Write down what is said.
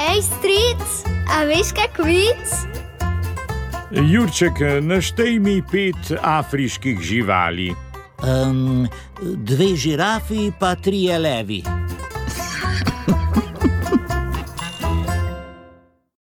Ej, stric, a veš kak vic? Jurček, naštej mi pet afriških živali. Um, dve žirafi, pa trije levi.